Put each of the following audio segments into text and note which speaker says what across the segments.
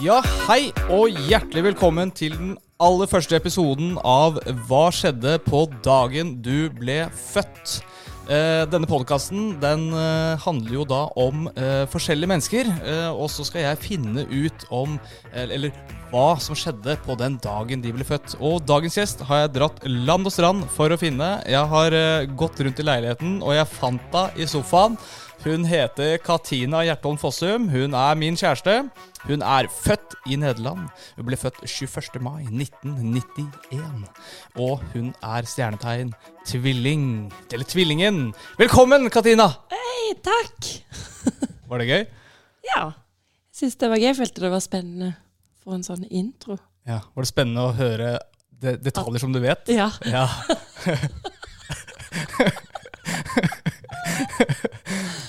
Speaker 1: Ja, hei og hjertelig velkommen til den aller første episoden av Hva skjedde på dagen du ble født? Eh, denne podkasten den eh, handler jo da om eh, forskjellige mennesker, eh, og så skal jeg finne ut om eh, eller, eller hva som skjedde på den dagen de ble født. Og dagens gjest har jeg dratt land og strand for å finne. Jeg har eh, gått rundt i leiligheten, og jeg fant henne i sofaen. Hun heter Katina Hjertholm Fossum. Hun er min kjæreste. Hun er født i Nederland. Hun ble født 21. mai 1991. Og hun er stjernetegn tvilling. Eller tvillingen. Velkommen, Katina!
Speaker 2: Hei, takk!
Speaker 1: Var det gøy?
Speaker 2: Ja. Jeg syns det var gøy. Jeg følte det var spennende for en sånn intro.
Speaker 1: Ja. Var det spennende å høre de detaljer som du vet?
Speaker 2: Ja.
Speaker 1: Ja.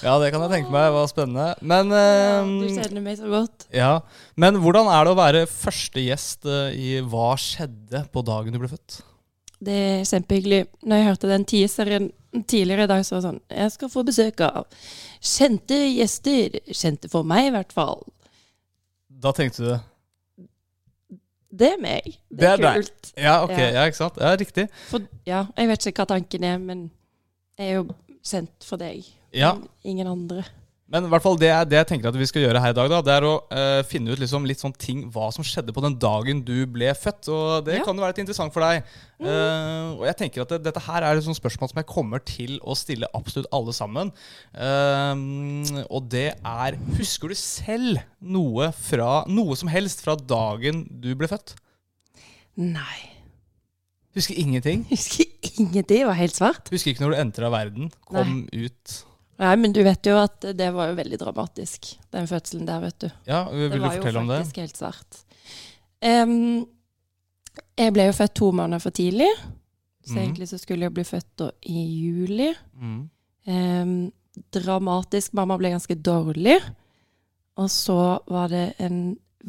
Speaker 1: ja, det kan jeg tenke meg var spennende. Men
Speaker 2: Du
Speaker 1: ehm,
Speaker 2: kjenner meg så godt.
Speaker 1: Ja, Men hvordan er det å være første gjest eh, i Hva skjedde på dagen du ble født?
Speaker 2: Det er kjempehyggelig. Når jeg hørte den teaseren tidligere i dag, så var det sånn Jeg skal få besøk av kjente gjester. Kjente for meg, i hvert fall.
Speaker 1: Da tenkte du
Speaker 2: Det er meg.
Speaker 1: Det er deg.
Speaker 2: kult.
Speaker 1: Ja, ok, ja.
Speaker 2: Ja.
Speaker 1: ikke sant? Ja, Riktig.
Speaker 2: For, ja, jeg vet ikke hva tanken er, men jeg er jo kjent for deg.
Speaker 1: Ja,
Speaker 2: Men Ingen andre.
Speaker 1: Men i hvert fall det, er- det jeg tenker at vi skal gjøre her i dag, da, det er å eh, finne ut liksom litt sånn ting hva som skjedde på den dagen du ble født. Og det
Speaker 2: Ja. Mm.
Speaker 1: kan jo være litt interessant for deg. Eh, og jeg tenker at det, dette her er et sånt spørsmål som jeg kommer til å stille absolutt alle sammen. Eh, og det er Husker du selv noe, fra, noe som helst fra dagen du ble født?
Speaker 2: Nei.
Speaker 1: Husker ingenting?
Speaker 2: Jeg husker ingenting. Det var helt svart.
Speaker 1: Husker ikke når du entra verden? Kom ut
Speaker 2: Nei, men du vet jo at det var jo veldig dramatisk, den fødselen der, vet du.
Speaker 1: Ja, vil du
Speaker 2: Det var jo
Speaker 1: fortelle om det?
Speaker 2: faktisk helt svart. Em, jeg ble jo født to måneder for tidlig, så
Speaker 1: Mhm.
Speaker 2: egentlig så skulle jeg bli født da i juli.
Speaker 1: Mm.
Speaker 2: Em, dramatisk. Mamma ble ganske dårlig. Og så var det en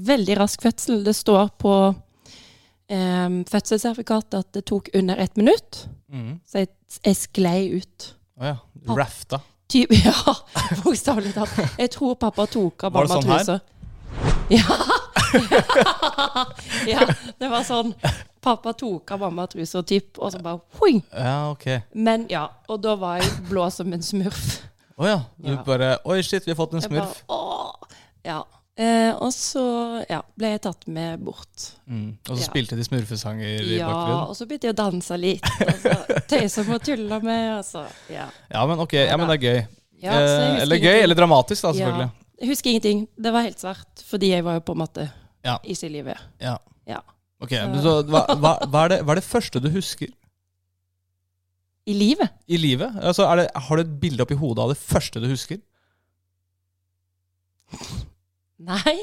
Speaker 2: veldig rask fødsel. Det står på um, fødselssertifikatet at det tok under ett minutt,
Speaker 1: Mm.
Speaker 2: så jeg, jeg sklei ut.
Speaker 1: Å ja. Rafta.
Speaker 2: Typ, ja, bokstavelig talt. Jeg tror pappa tok av
Speaker 1: Var det
Speaker 2: mamma
Speaker 1: sånn her?
Speaker 2: trusa. Ja. ja! Det var sånn. Pappa tok av mamma trusa, typ, og så bare hoing.
Speaker 1: Ja, ok.
Speaker 2: Men ja, og da var jeg blå som en smurf.
Speaker 1: Å ja. Du
Speaker 2: Ja.
Speaker 1: bare Oi, shit, vi har fått en
Speaker 2: Jeg
Speaker 1: smurf.
Speaker 2: Bare, åh. Ja. Eh, og så ja, ble jeg tatt med bort.
Speaker 1: Mm. Og så
Speaker 2: Ja.
Speaker 1: spilte de smurfesanger i
Speaker 2: Ja,
Speaker 1: bakgrunnen.
Speaker 2: og så begynte jeg å danse litt. Og så tøysa med og tulla med, og så ja.
Speaker 1: Ja, men ok. Ja, men det er gøy.
Speaker 2: Ja, så jeg
Speaker 1: eh,
Speaker 2: husker
Speaker 1: eller gøy,
Speaker 2: ingenting.
Speaker 1: eller dramatisk, da,
Speaker 2: ja.
Speaker 1: selvfølgelig.
Speaker 2: Jeg husker ingenting. Det var helt svart, fordi jeg var jo på en måte
Speaker 1: Ja.
Speaker 2: ikke i livet.
Speaker 1: Ja.
Speaker 2: Ja.
Speaker 1: Ok, men så hva, hva, hva, er det, hva er det første du husker
Speaker 2: I livet?
Speaker 1: i livet? Altså, er det, har du et bilde oppi hodet av det første du husker?
Speaker 2: Nei.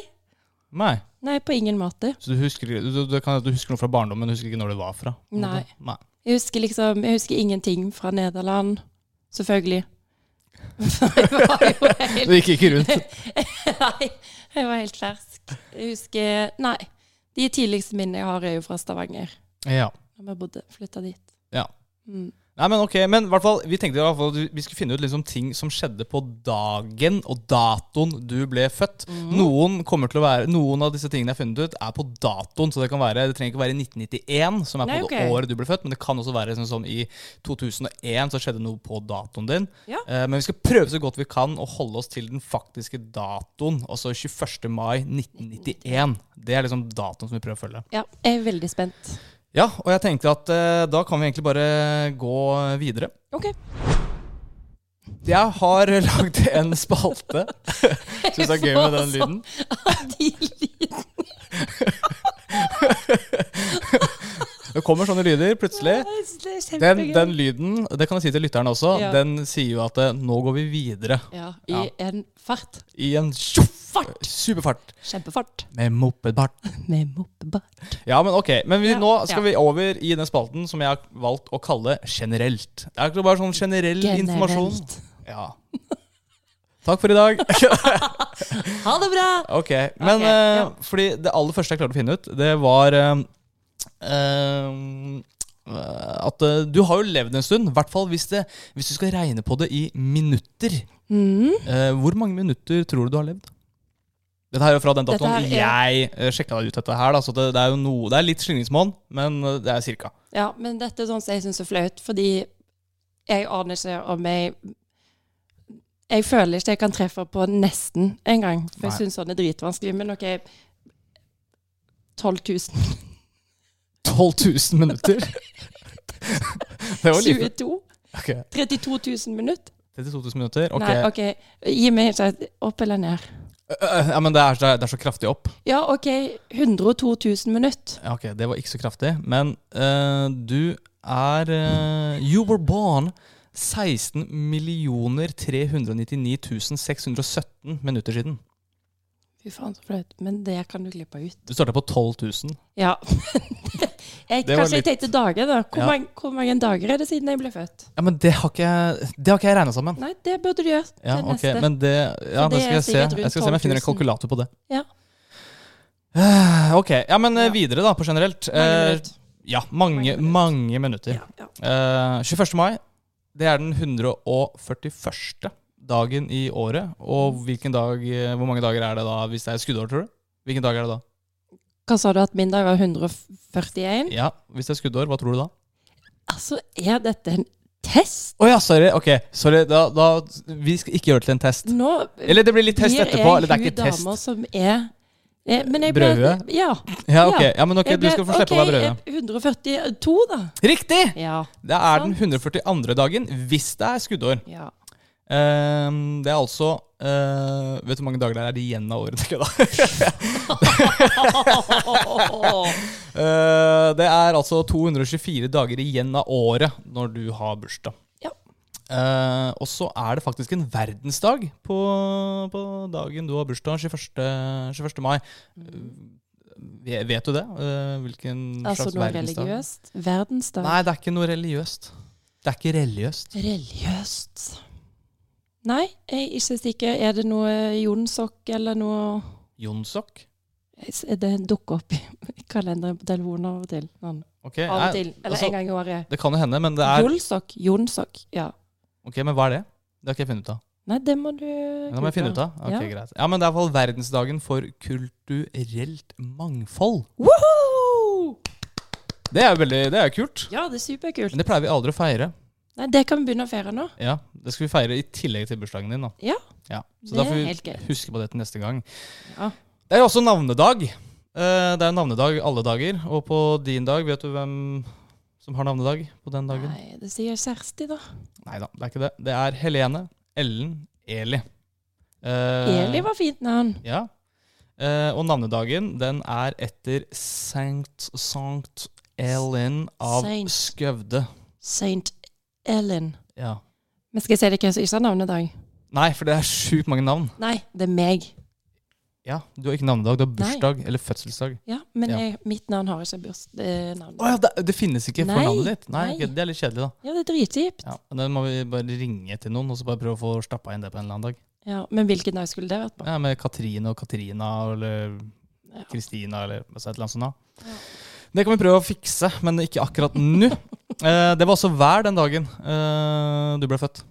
Speaker 1: Nei.
Speaker 2: Nei, på ingen måte.
Speaker 1: Så du husker, du, du, kan, du husker noe fra barndommen, men du husker ikke når det var fra? på en måte?
Speaker 2: Nei.
Speaker 1: Nei.
Speaker 2: Jeg husker liksom Jeg husker ingenting fra Nederland. Selvfølgelig. Jeg var jo
Speaker 1: Du
Speaker 2: helt
Speaker 1: gikk ikke rundt?
Speaker 2: Nei, jeg var helt fersk. Jeg husker Nei. De tidligste minnene jeg har, er jo fra Stavanger.
Speaker 1: Ja.
Speaker 2: Da vi bodde, flytta dit.
Speaker 1: ja.
Speaker 2: Mm.
Speaker 1: Nei, men ok, men i hvert fall, vi tenkte i hvert fall at vi skulle finne ut liksom ting som skjedde på dagen og datoen du ble født.
Speaker 2: Mm.
Speaker 1: Noen, kommer til å være, noen av disse tingene jeg har funnet ut, er på datoen. Så det kan være, det trenger ikke være i 1991, som er på
Speaker 2: Nei,
Speaker 1: det
Speaker 2: ok.
Speaker 1: året du ble født, men det kan også være sånn som i 2001, så skjedde noe på datoen din.
Speaker 2: Ja.
Speaker 1: Eh, men vi skal prøve så godt vi kan å holde oss til den faktiske datoen, altså 21. mai 1991. Det er liksom datoen som vi prøver å følge.
Speaker 2: Ja, jeg er veldig spent.
Speaker 1: Ja, og jeg tenkte at eh, da kan vi egentlig bare gå videre.
Speaker 2: OK.
Speaker 1: Jeg har lagd en spalte. Syns det er gøy med den lyden.
Speaker 2: De lydene
Speaker 1: Det kommer sånne lyder plutselig.
Speaker 2: Det er
Speaker 1: Den,
Speaker 2: kjempegøy.
Speaker 1: den lyden, det kan jeg si til lytterne også,
Speaker 2: Ja.
Speaker 1: den sier jo at eh, nå går vi videre
Speaker 2: ja, I
Speaker 1: Ja.
Speaker 2: en fart.
Speaker 1: i en tjoff,
Speaker 2: Fart!
Speaker 1: superfart
Speaker 2: Kjempefart.
Speaker 1: med mopedbart.
Speaker 2: Med moppebart.
Speaker 1: Ja, men ok. Men vi,
Speaker 2: Ja,
Speaker 1: nå skal
Speaker 2: ja.
Speaker 1: vi over i den spalten som jeg har valgt å kalle generelt. Det er ikke bare sånn generell informasjon.
Speaker 2: Generelt.
Speaker 1: Ja. Takk for i dag.
Speaker 2: Ha det bra!
Speaker 1: Ok, men
Speaker 2: Ok, ja.
Speaker 1: eh, fordi det aller første jeg klarte å finne ut, det var eh, eh, at eh, du har jo levd en stund, i hvert fall hvis, det, hvis du skal regne på det i minutter.
Speaker 2: Mm.
Speaker 1: Eh, hvor mange minutter tror du du har levd? Dette her er jo fra den
Speaker 2: Dette
Speaker 1: datoen
Speaker 2: her er-
Speaker 1: jeg uh, sjekka ut dette her. Da, så det, det er jo noe, det er litt slingringsmonn, men eh, det er cirka.
Speaker 2: Ja, men dette er sånn som jeg syns er flaut, fordi jeg aner ikke om jeg Jeg føler ikke jeg kan treffe på nesten engang, for jeg
Speaker 1: Nei.
Speaker 2: syns sånn er dritvanskelig. Men OK 12 000.
Speaker 1: 12 000 minutter? det var lite.
Speaker 2: 22?
Speaker 1: Ok,
Speaker 2: 32 000 minutter?
Speaker 1: 32 000 minutter. Ok.
Speaker 2: Nei, OK. Gi meg ikke et opp eller ned.
Speaker 1: Eh, eh, ja, men det er, det er- det er så kraftig opp.
Speaker 2: Ja, OK. 102 000 minutter.
Speaker 1: Ja, Ok, det var ikke så kraftig. Men eh, du er eh, You were born 16 399 617 minutter siden.
Speaker 2: Fy faen, så flaut. Men det kan du klippe ut.
Speaker 1: Du starta på 12 000.
Speaker 2: Ja. jeg,
Speaker 1: Det var
Speaker 2: kanskje jeg tenkte dager, da. Hvor,
Speaker 1: Ja.
Speaker 2: mange, hvor mange dager er det siden jeg ble født?
Speaker 1: Ja, men det har ikke jeg, det har ikke jeg regna sammen.
Speaker 2: Nei, det burde du gjøre
Speaker 1: Ja,
Speaker 2: til
Speaker 1: ok,
Speaker 2: neste.
Speaker 1: men det, ja,
Speaker 2: Så det
Speaker 1: det skal
Speaker 2: er
Speaker 1: jeg se.
Speaker 2: sikkert rundt
Speaker 1: Jeg skal se om jeg finner en
Speaker 2: 12 000.
Speaker 1: kalkulator på det.
Speaker 2: Ja.
Speaker 1: Eh, Ok, ja, men eh,
Speaker 2: Ja.
Speaker 1: videre da, på generelt.
Speaker 2: Mange
Speaker 1: Eh,
Speaker 2: minutter.
Speaker 1: Ja, mange,
Speaker 2: Mange minutter.
Speaker 1: mange minutter.
Speaker 2: Ja, ja.
Speaker 1: Eh, 21. mai, det er den 141. dagen i året. Og hvilken dag, eh, hvor mange dager er det da hvis det er skuddår, tror du? Hvilken dag er det da?
Speaker 2: Hva sa du at min dag var 141?
Speaker 1: Ja, Hvis det er skuddår, hva tror du da?
Speaker 2: Altså, er dette en test?
Speaker 1: Å ja, sorry. Ok, sorry. Da, da, vi skal ikke gjøre det til en test.
Speaker 2: Nå
Speaker 1: Eller det blir litt test etterpå. Eller det er
Speaker 2: hun
Speaker 1: ikke test.
Speaker 2: dama som er eh, men jeg ble,
Speaker 1: Brødhue?
Speaker 2: Ja.
Speaker 1: Ja, ok.
Speaker 2: Ja.
Speaker 1: Ja, men ok,
Speaker 2: altså. jeg
Speaker 1: Du
Speaker 2: ble-
Speaker 1: skal få slippe å
Speaker 2: ok, eh,
Speaker 1: være brødre.
Speaker 2: 142, da.
Speaker 1: Riktig!
Speaker 2: Ja.
Speaker 1: Det er den 142. dagen hvis det er skuddår.
Speaker 2: ja.
Speaker 1: Ehm, det er altså eh, Vet du hvor mange dager det er igjen av året? tenker jeg da? Eh, det er altså 224 dager igjen av året når du har bursdag.
Speaker 2: Ja.
Speaker 1: Eh, og så er det faktisk en verdensdag på, på dagen du har bursdag, 21. 21. mai. Eh, Vet du det? Eh, hvilken
Speaker 2: Mm. Altså
Speaker 1: slags
Speaker 2: noe
Speaker 1: verdensdag?
Speaker 2: religiøst? Verdensdag?
Speaker 1: Nei, det er ikke noe religiøst. Det er ikke religiøst.
Speaker 2: Religiøst Nei, jeg er ikke sikker. Er det noe jonsokk eller noe
Speaker 1: Jonsok?
Speaker 2: Er Det dukker opp i kalenderen på telefonen av og til. Sånn.
Speaker 1: Ok,
Speaker 2: Av
Speaker 1: nei,
Speaker 2: og til. Eller
Speaker 1: altså-
Speaker 2: en gang i året.
Speaker 1: Det kan jo hende, men det er
Speaker 2: Jolsokk? Jonsokk, ja.
Speaker 1: Ok, men hva er det? Det har ikke jeg funnet ut av.
Speaker 2: Nei, det må du
Speaker 1: Det må jeg finne ut av. Ok, greit. Ja, men det er i hvert fall verdensdagen for kulturelt mangfold.
Speaker 2: Woohoo!
Speaker 1: Det er jo veldig, det er jo kult.
Speaker 2: Ja, det er superkult.
Speaker 1: Men det pleier vi aldri å feire.
Speaker 2: Nei, det kan vi begynne å feire nå.
Speaker 1: Ja, Det skal vi feire i tillegg til bursdagen din. da.
Speaker 2: Ja.
Speaker 1: Ja,
Speaker 2: Det
Speaker 1: Så da
Speaker 2: er
Speaker 1: får
Speaker 2: helt
Speaker 1: vi
Speaker 2: gøy.
Speaker 1: huske på det til neste gang.
Speaker 2: Ja.
Speaker 1: Det er jo også navnedag. Eh, Det er jo navnedag alle dager. Og på din dag, vet du hvem som har navnedag på den dagen?
Speaker 2: Nei, det sier Kjersti, da.
Speaker 1: Nei da, det er ikke det. Det er Helene Ellen Eli. Eh,
Speaker 2: Eli var fint navn.
Speaker 1: Ja. Eh, og navnedagen den er etter Sankt Sankt Ellen av
Speaker 2: Saint.
Speaker 1: Skøvde.
Speaker 2: Saint Ellen.
Speaker 1: Ja.
Speaker 2: Men skal jeg si deg hvem som ikke har navnedag?
Speaker 1: Nei, for det er sjukt mange navn.
Speaker 2: Nei, det er meg.
Speaker 1: Ja, Du har ikke navnedag, du har bursdag eller fødselsdag.
Speaker 2: Ja, men
Speaker 1: Ja.
Speaker 2: Jeg, mitt navn har ikke burs... Eh, navn.
Speaker 1: Å ja, det, det finnes ikke for
Speaker 2: Nei,
Speaker 1: navnet ditt? Nei,
Speaker 2: nei.
Speaker 1: ok, Det er litt kjedelig, da.
Speaker 2: Ja, det er dritkjipt.
Speaker 1: Ja, men Da må vi bare ringe til noen og så bare prøve å få stappa inn det på en eller annen dag.
Speaker 2: Ja, men hvilken dag skulle det vært på?
Speaker 1: Ja, Med Katrine og Katrina eller
Speaker 2: Ja.
Speaker 1: Kristina eller altså et eller annet sånt. da. Det kan vi prøve å fikse, men ikke akkurat nå. Eh, det var også vær den dagen eh, du ble født.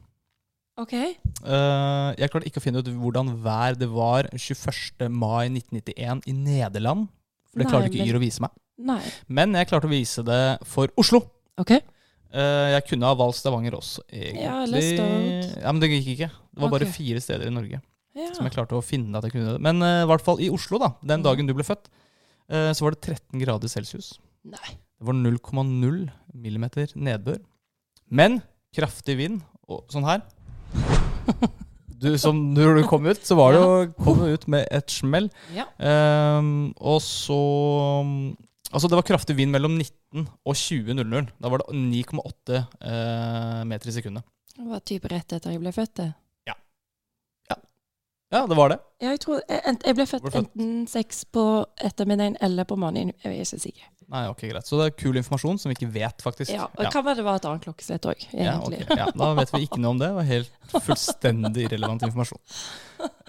Speaker 2: Ok.
Speaker 1: Eh, jeg klarte ikke å finne ut hvordan vær det var 21. mai 1991 i Nederland. For det
Speaker 2: Nei,
Speaker 1: klarte ikke
Speaker 2: men-
Speaker 1: Yr å vise meg.
Speaker 2: Nei.
Speaker 1: Men jeg klarte å vise det for Oslo.
Speaker 2: Ok.
Speaker 1: Eh, jeg kunne ha valgt Stavanger også, egentlig.
Speaker 2: Ja, eller Stord.
Speaker 1: Ja, men det gikk ikke. Det var bare
Speaker 2: Ok.
Speaker 1: fire steder i Norge
Speaker 2: Ja. Mm.
Speaker 1: som jeg klarte å finne at jeg kunne det. Men eh, i hvert fall i Oslo, da, den dagen du ble født, eh, så var det 13 grader celsius.
Speaker 2: Nei.
Speaker 1: Det var 0,0 millimeter nedbør. Men kraftig vind, og sånn her. Du, som, når du kom ut, så var det jo, kom du ut med et smell.
Speaker 2: Ja.
Speaker 1: Ehm, og så Altså, det var kraftig vind mellom 19 og 20.00. Da var det 9,8 eh, meter i sekundet.
Speaker 2: Det var type rett etter jeg ble født, det.
Speaker 1: Ja, det var det.
Speaker 2: Ja, jeg, tror, jeg, ent- jeg ble født,
Speaker 1: Ble født.
Speaker 2: enten seks på ettermiddagen eller på morgenen. Jeg er ikke sikker.
Speaker 1: Nei, ok, greit. Så det er kul informasjon som vi ikke vet, faktisk.
Speaker 2: Ja, og det kan være det var et annet klokkeslett òg,
Speaker 1: Ja,
Speaker 2: egentlig.
Speaker 1: ok. ja, da vet vi ikke noe om det. Det var helt fullstendig irrelevant informasjon.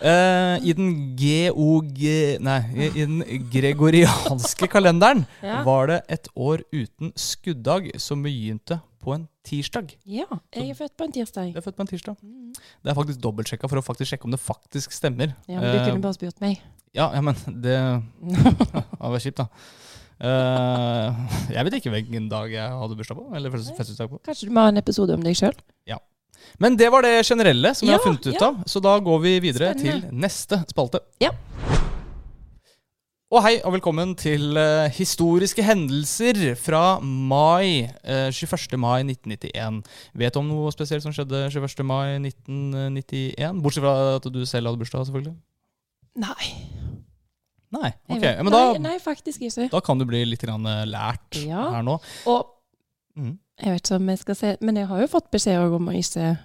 Speaker 1: Eh, I den geog... Nei, i i den gregorianske kalenderen
Speaker 2: Ja.
Speaker 1: var det et år uten skuddag som begynte på en tirsdag.
Speaker 2: Ja, jeg er født på en tirsdag.
Speaker 1: Jeg er født på en tirsdag. Det er faktisk dobbeltsjekka for å faktisk sjekke om det faktisk stemmer.
Speaker 2: Ja, men Du
Speaker 1: Eh,
Speaker 2: kunne bare spurt meg.
Speaker 1: ja, ja, men det ja, Det var kjipt, da. Eh, jeg vet ikke hvilken dag jeg hadde bursdag på. Eller fødsels- fødselsdag på.
Speaker 2: Kanskje du må ha en episode om deg sjøl?
Speaker 1: Men det var det generelle som jeg har
Speaker 2: Ja,
Speaker 1: funnet ut
Speaker 2: ja.
Speaker 1: av. Så da går vi videre
Speaker 2: Spennende.
Speaker 1: til neste spalte.
Speaker 2: Ja.
Speaker 1: Og hei, og velkommen til eh, historiske hendelser fra mai. eh, 21. mai 1991. Vet du om noe spesielt som skjedde 21. mai 1991? Bortsett fra at du selv hadde bursdag, selvfølgelig.
Speaker 2: Nei.
Speaker 1: Nei.
Speaker 2: jeg
Speaker 1: ok.
Speaker 2: vet-
Speaker 1: Ja, men da,
Speaker 2: nei, nei, faktisk ikke.
Speaker 1: da kan du bli litt grann eh, lært
Speaker 2: Ja.
Speaker 1: her nå.
Speaker 2: Og
Speaker 1: Mm.
Speaker 2: jeg vet ikke om jeg skal se Men jeg har jo fått beskjed også om å ikke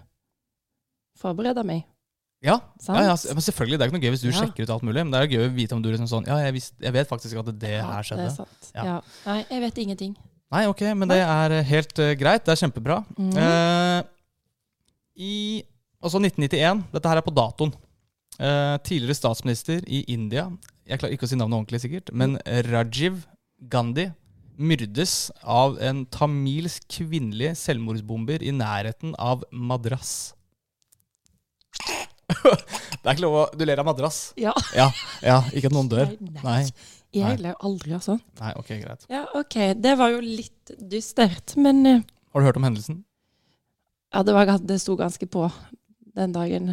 Speaker 2: forberede meg.
Speaker 1: Ja,
Speaker 2: Sant?
Speaker 1: ja, ja, s- men selvfølgelig. Det er ikke noe gøy hvis du
Speaker 2: Ja.
Speaker 1: sjekker ut alt mulig. Men det er jo gøy å vite om du liksom sånn Ja, jeg, visste- jeg vet faktisk at det
Speaker 2: Ja,
Speaker 1: her skjedde.
Speaker 2: Det er sant.
Speaker 1: Ja.
Speaker 2: Ja. Nei, jeg vet ingenting.
Speaker 1: Nei, ok, men det er helt eh, greit. Det er kjempebra.
Speaker 2: Mhm.
Speaker 1: Eh, I altså 1991 Dette her er på datoen. Eh, tidligere statsminister i India Jeg klarer ikke å si navnet ordentlig, sikkert. Men Rajiv Gandhi myrdes av en tamilsk kvinnelig selvmordsbomber i nærheten av madrass. det er ikke lov å Du ler av madrass?
Speaker 2: Ja.
Speaker 1: Ja, ja ikke at noen dør?
Speaker 2: Nei, nei.
Speaker 1: Nei. Nei.
Speaker 2: Jeg ler aldri av sånn.
Speaker 1: Nei, ok, greit.
Speaker 2: Ja, OK. Det var jo litt dystert, men eh,
Speaker 1: Har du hørt om hendelsen?
Speaker 2: ja, det, var, gans- det sto ganske på den dagen.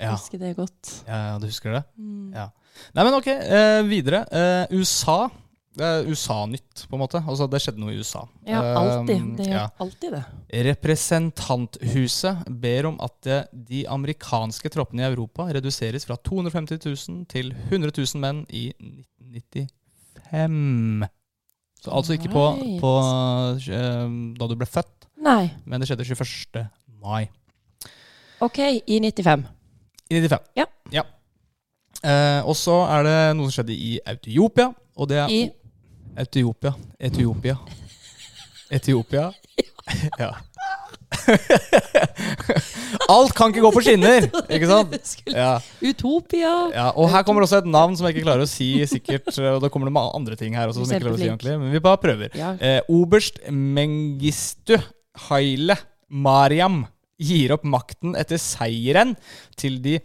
Speaker 1: Ja.
Speaker 2: Husker det godt.
Speaker 1: Ja, du husker det?
Speaker 2: Mm.
Speaker 1: Ja. Nei, men ok, eh, videre. Eh, USA. Det er USA-nytt, på en måte. Altså, det skjedde noe i USA.
Speaker 2: Ja,
Speaker 1: Eh,
Speaker 2: alltid. Det er
Speaker 1: ja.
Speaker 2: alltid det.
Speaker 1: Representanthuset ber om at eh, de amerikanske troppene i Europa reduseres fra 250 000 til 100 000 menn i 1995. Så altså ikke på,
Speaker 2: Right.
Speaker 1: på eh, da du ble født,
Speaker 2: Nei.
Speaker 1: men det skjedde 21. mai.
Speaker 2: OK, i 95.
Speaker 1: I 95.
Speaker 2: Ja.
Speaker 1: Eh, og så er det noe som skjedde i Etiopia. Og det er
Speaker 2: I
Speaker 1: Etiopia. Etiopia. Etiopia. ja. Alt kan ikke gå på skinner, ikke sant? Ja,
Speaker 2: Utopia.
Speaker 1: ja. Og her kommer også et navn som jeg ikke klarer å si sikkert. Og da kommer det med andre ting her også som jeg ikke klarer å si ordentlig. Men vi bare prøver.
Speaker 2: Ja.
Speaker 1: Eh, Oberst Mengistu Haile Mariam gir opp makten etter seieren til de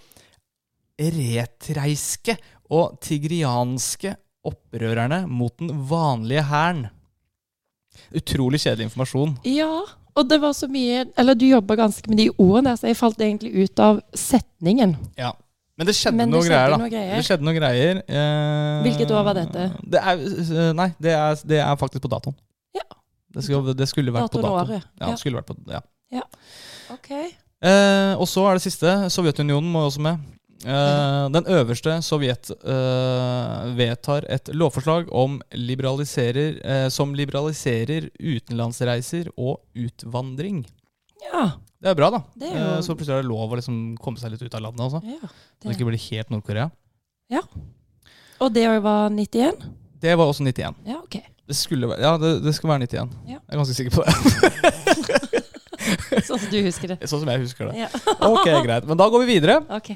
Speaker 1: eretreiske og tigrianske opprørerne mot den vanlige hæren. Utrolig kjedelig informasjon.
Speaker 2: Ja. Og det var så mye Eller du jobba ganske med de ordene, der, så jeg falt egentlig ut av setningen.
Speaker 1: Ja. Men det skjedde
Speaker 2: Men det
Speaker 1: noen
Speaker 2: skjedde
Speaker 1: greier, da.
Speaker 2: noe greier.
Speaker 1: Det skjedde noen greier. eh,
Speaker 2: Hvilket år var dette?
Speaker 1: Det er, eh, nei, det er, det er faktisk på datoen.
Speaker 2: Ja.
Speaker 1: Det skulle, det skulle vært
Speaker 2: Datoen
Speaker 1: på
Speaker 2: og
Speaker 1: datoen.
Speaker 2: året.
Speaker 1: Ja,
Speaker 2: Ja.
Speaker 1: det skulle vært på, ja.
Speaker 2: OK.
Speaker 1: Eh, og så er det siste. Sovjetunionen må også med. Eh, den øverste Sovjet eh, vedtar et lovforslag om liberaliserer, eh, som liberaliserer utenlandsreiser og utvandring.
Speaker 2: Ja.
Speaker 1: Det er bra, da.
Speaker 2: Det er jo-
Speaker 1: Eh, så plutselig er det lov å liksom komme seg litt ut av landet. Altså.
Speaker 2: ja.
Speaker 1: Så det ikke blir helt Nord-Korea.
Speaker 2: Og det var 91?
Speaker 1: Det var også 91.
Speaker 2: Ja, OK.
Speaker 1: Det skulle være, ja, det, det skal være 91.
Speaker 2: Ja.
Speaker 1: Jeg er ganske sikker på det.
Speaker 2: Sånn som du husker det.
Speaker 1: sånn som jeg husker det.
Speaker 2: Ja.
Speaker 1: Ok, greit. Men da går vi videre.
Speaker 2: OK.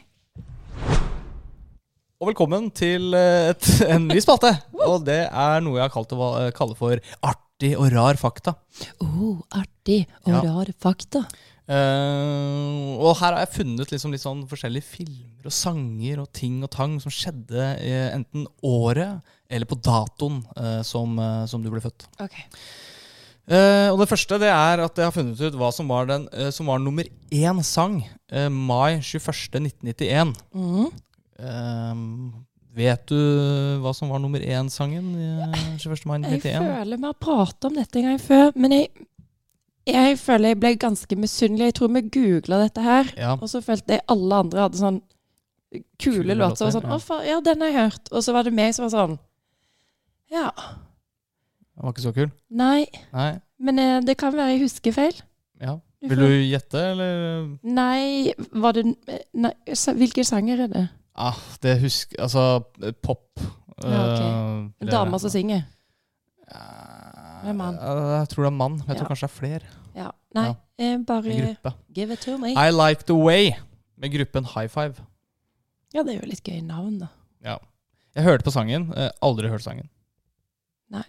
Speaker 1: Og velkommen til eh, et, en ny spalte. Og det er noe jeg har kalt å va- kalle for artig og rar fakta.
Speaker 2: Oh, artig og
Speaker 1: Ja.
Speaker 2: rare fakta.
Speaker 1: Eh, og her har jeg funnet liksom litt sånn forskjellige filmer og sanger og ting og tang som skjedde eh, enten året eller på datoen eh, som, eh, som du ble født.
Speaker 2: Ok.
Speaker 1: Eh, og det første det er at jeg har funnet ut hva som var, den, eh, som var nummer én sang eh, mai 21.1991.
Speaker 2: Mm.
Speaker 1: Eh, vet du hva som var nummer én-sangen eh, 21. mai
Speaker 2: Jeg
Speaker 1: 1991?
Speaker 2: føler vi har pratet om dette en gang før, men jeg, jeg føler jeg ble ganske misunnelig. Jeg tror vi googla dette her,
Speaker 1: Ja.
Speaker 2: og så følte jeg alle andre hadde sånn kule,
Speaker 1: Kule
Speaker 2: låter. Og
Speaker 1: låter,
Speaker 2: sånn,
Speaker 1: ja.
Speaker 2: ja. ja, den har jeg hørt. Og så var det meg som var sånn Ja.
Speaker 1: Den var ikke så kul?
Speaker 2: Nei,
Speaker 1: Nei?
Speaker 2: men eh, det kan være jeg husker feil.
Speaker 1: Ja.
Speaker 2: Du
Speaker 1: Vil
Speaker 2: får-
Speaker 1: du gjette, eller?
Speaker 2: Nei, var det eh, nei, sa- Hvilken sanger er det?
Speaker 1: Ah, det husker Altså, eh, pop.
Speaker 2: Ja, ok.
Speaker 1: eh, vil jeg-
Speaker 2: Dama som synger?
Speaker 1: Ja,
Speaker 2: Hvem er mann?
Speaker 1: eh, Jeg tror det er mann. Jeg tror
Speaker 2: Ja.
Speaker 1: kanskje det er flere.
Speaker 2: Ja. Nei,
Speaker 1: Ja.
Speaker 2: eh,
Speaker 1: En
Speaker 2: bare
Speaker 1: gruppe.
Speaker 2: give it to me.
Speaker 1: I Like The Way med gruppen High Five.
Speaker 2: Ja, det er jo litt gøy navn, da.
Speaker 1: Jeg hørte på sangen, eh, aldri hørt sangen.
Speaker 2: Nei.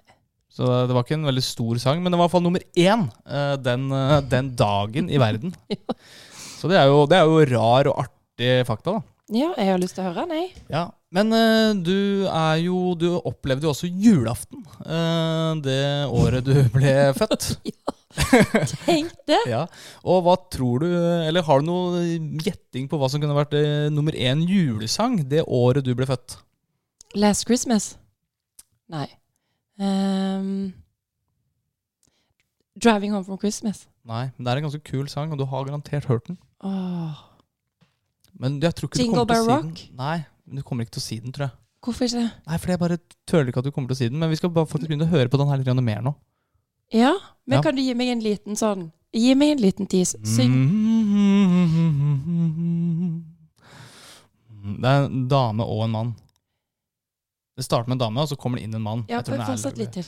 Speaker 1: Så eh, det var ikke en veldig stor sang, men det var i hvert fall nummer én eh, den, eh, den dagen i verden. Så det er, jo, det er jo rar og artig fakta, da.
Speaker 2: Ja, jeg har lyst til å høre den, jeg.
Speaker 1: Ja. Men eh, du er jo Du opplevde jo også julaften eh, det året du ble født.
Speaker 2: Tenk det!
Speaker 1: Ja. Og hva tror du Eller har du noe gjetting på hva som kunne vært eh, nummer én julesang det året du ble født?
Speaker 2: Last Christmas. Nei. Ehm, driving Home from Christmas.
Speaker 1: Nei, men det er en ganske kul sang, og du har garantert hørt den.
Speaker 2: Åh,
Speaker 1: Men jeg tror ikke
Speaker 2: Jingle
Speaker 1: du kommer til å
Speaker 2: Bell
Speaker 1: si den. Nei, men du kommer ikke til å si den, tror jeg.
Speaker 2: hvorfor ikke?
Speaker 1: Nei, for jeg bare tøler ikke at du kommer til å si den. Men vi skal bare faktisk begynne å høre på den her litt grann mer nå.
Speaker 2: Ja, men
Speaker 1: Ja. Mm,
Speaker 2: kan du gi meg en liten sånn Gi meg en liten tis. Syng.
Speaker 1: Det er en dame og en mann. Det starter med en dame, og så kommer det inn en mann.
Speaker 2: Ja,
Speaker 1: Jeg tror den er-
Speaker 2: fortsett litt til.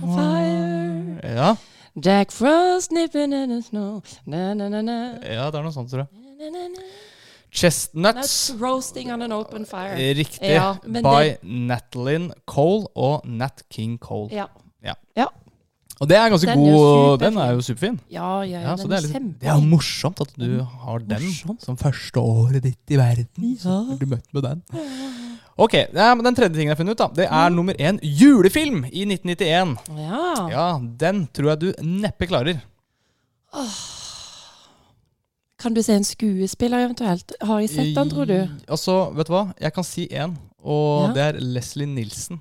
Speaker 2: fire.
Speaker 1: Ja,
Speaker 2: Jack Frost nipping in the snow. Na, na, na, na.
Speaker 1: ja, det er noe sånt, tror jeg.
Speaker 2: Na, na, na.
Speaker 1: Chestnuts.
Speaker 2: That's roasting on an open fire.
Speaker 1: Riktig.
Speaker 2: Ja, men
Speaker 1: By Natalyn Cole og Nat King Cole.
Speaker 2: Ja.
Speaker 1: Og det er ganske
Speaker 2: Den er jo
Speaker 1: god Den
Speaker 2: superfin.
Speaker 1: er jo superfin.
Speaker 2: Ja, ja,
Speaker 1: Ja,
Speaker 2: ja,
Speaker 1: så
Speaker 2: den
Speaker 1: det, er
Speaker 2: er
Speaker 1: litt,
Speaker 2: kjempe... Mm.
Speaker 1: det er jo morsomt at du har den som første året ditt i verden. Så
Speaker 2: Ja.
Speaker 1: blir du møtt med den. Ok, ja, men Den tredje tingen jeg har funnet ut, da det er nummer én julefilm i 1991.
Speaker 2: Mm. Ja.
Speaker 1: Ja, Den tror jeg du neppe klarer.
Speaker 2: Kan du se en skuespiller eventuelt? Har jeg sett han, tror du?
Speaker 1: Altså, vet du hva? Jeg kan si én, og
Speaker 2: Ja.
Speaker 1: det er Leslie Nilsen.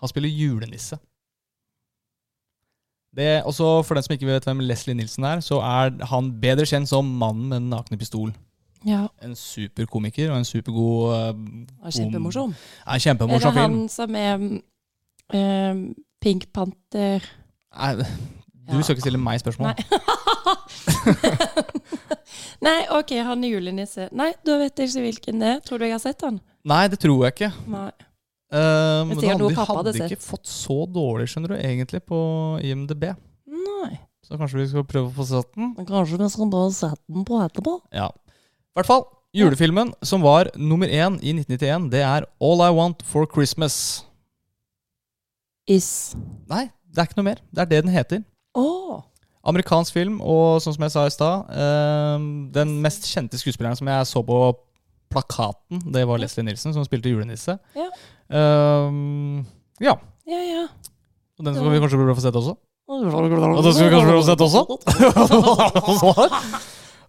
Speaker 1: Han spiller julenisse. Det, også for den som ikke vet hvem Leslie Nilsen er, så er han bedre kjent som mannen med den nakne pistol.
Speaker 2: Ja.
Speaker 1: En superkomiker og en supergod eh,
Speaker 2: han er Kjempemorsom.
Speaker 1: Nei,
Speaker 2: Er det
Speaker 1: kjempemorsom
Speaker 2: han
Speaker 1: film.
Speaker 2: som er mm, ehm, Pink Panther
Speaker 1: Nei, du
Speaker 2: Ja.
Speaker 1: skal ikke stille meg spørsmål.
Speaker 2: Nei, OK, han er julenisse. Nei, da vet jeg ikke hvilken det er. Tror du jeg har sett han?
Speaker 1: Nei, det tror jeg ikke.
Speaker 2: Nei.
Speaker 1: Eh, men
Speaker 2: sier
Speaker 1: de
Speaker 2: noe
Speaker 1: hadde,
Speaker 2: pappa hadde
Speaker 1: hadde ikke fått så dårlig, skjønner du, egentlig, på IMDb.
Speaker 2: Nei.
Speaker 1: Så kanskje vi skal prøve å få sett den.
Speaker 2: Kanskje vi skal bare sette den på etterpå?
Speaker 1: Ja. I hvert fall, julefilmen som var nummer én i 1991, det er All I Want for Christmas.
Speaker 2: Is.
Speaker 1: Nei, det er ikke noe mer. Det er det den heter.
Speaker 2: Å!
Speaker 1: Amerikansk film, og sånn som jeg sa i stad, eh, den mest kjente skuespilleren som jeg så på plakaten, det var Leslie Nilsen, som spilte julenisse.
Speaker 2: Ja.
Speaker 1: Eh, ja.
Speaker 2: ja, ja.
Speaker 1: Og den skal vi kanskje prøve å få sett også?
Speaker 2: Og
Speaker 1: den skal vi kanskje prøve å sette også?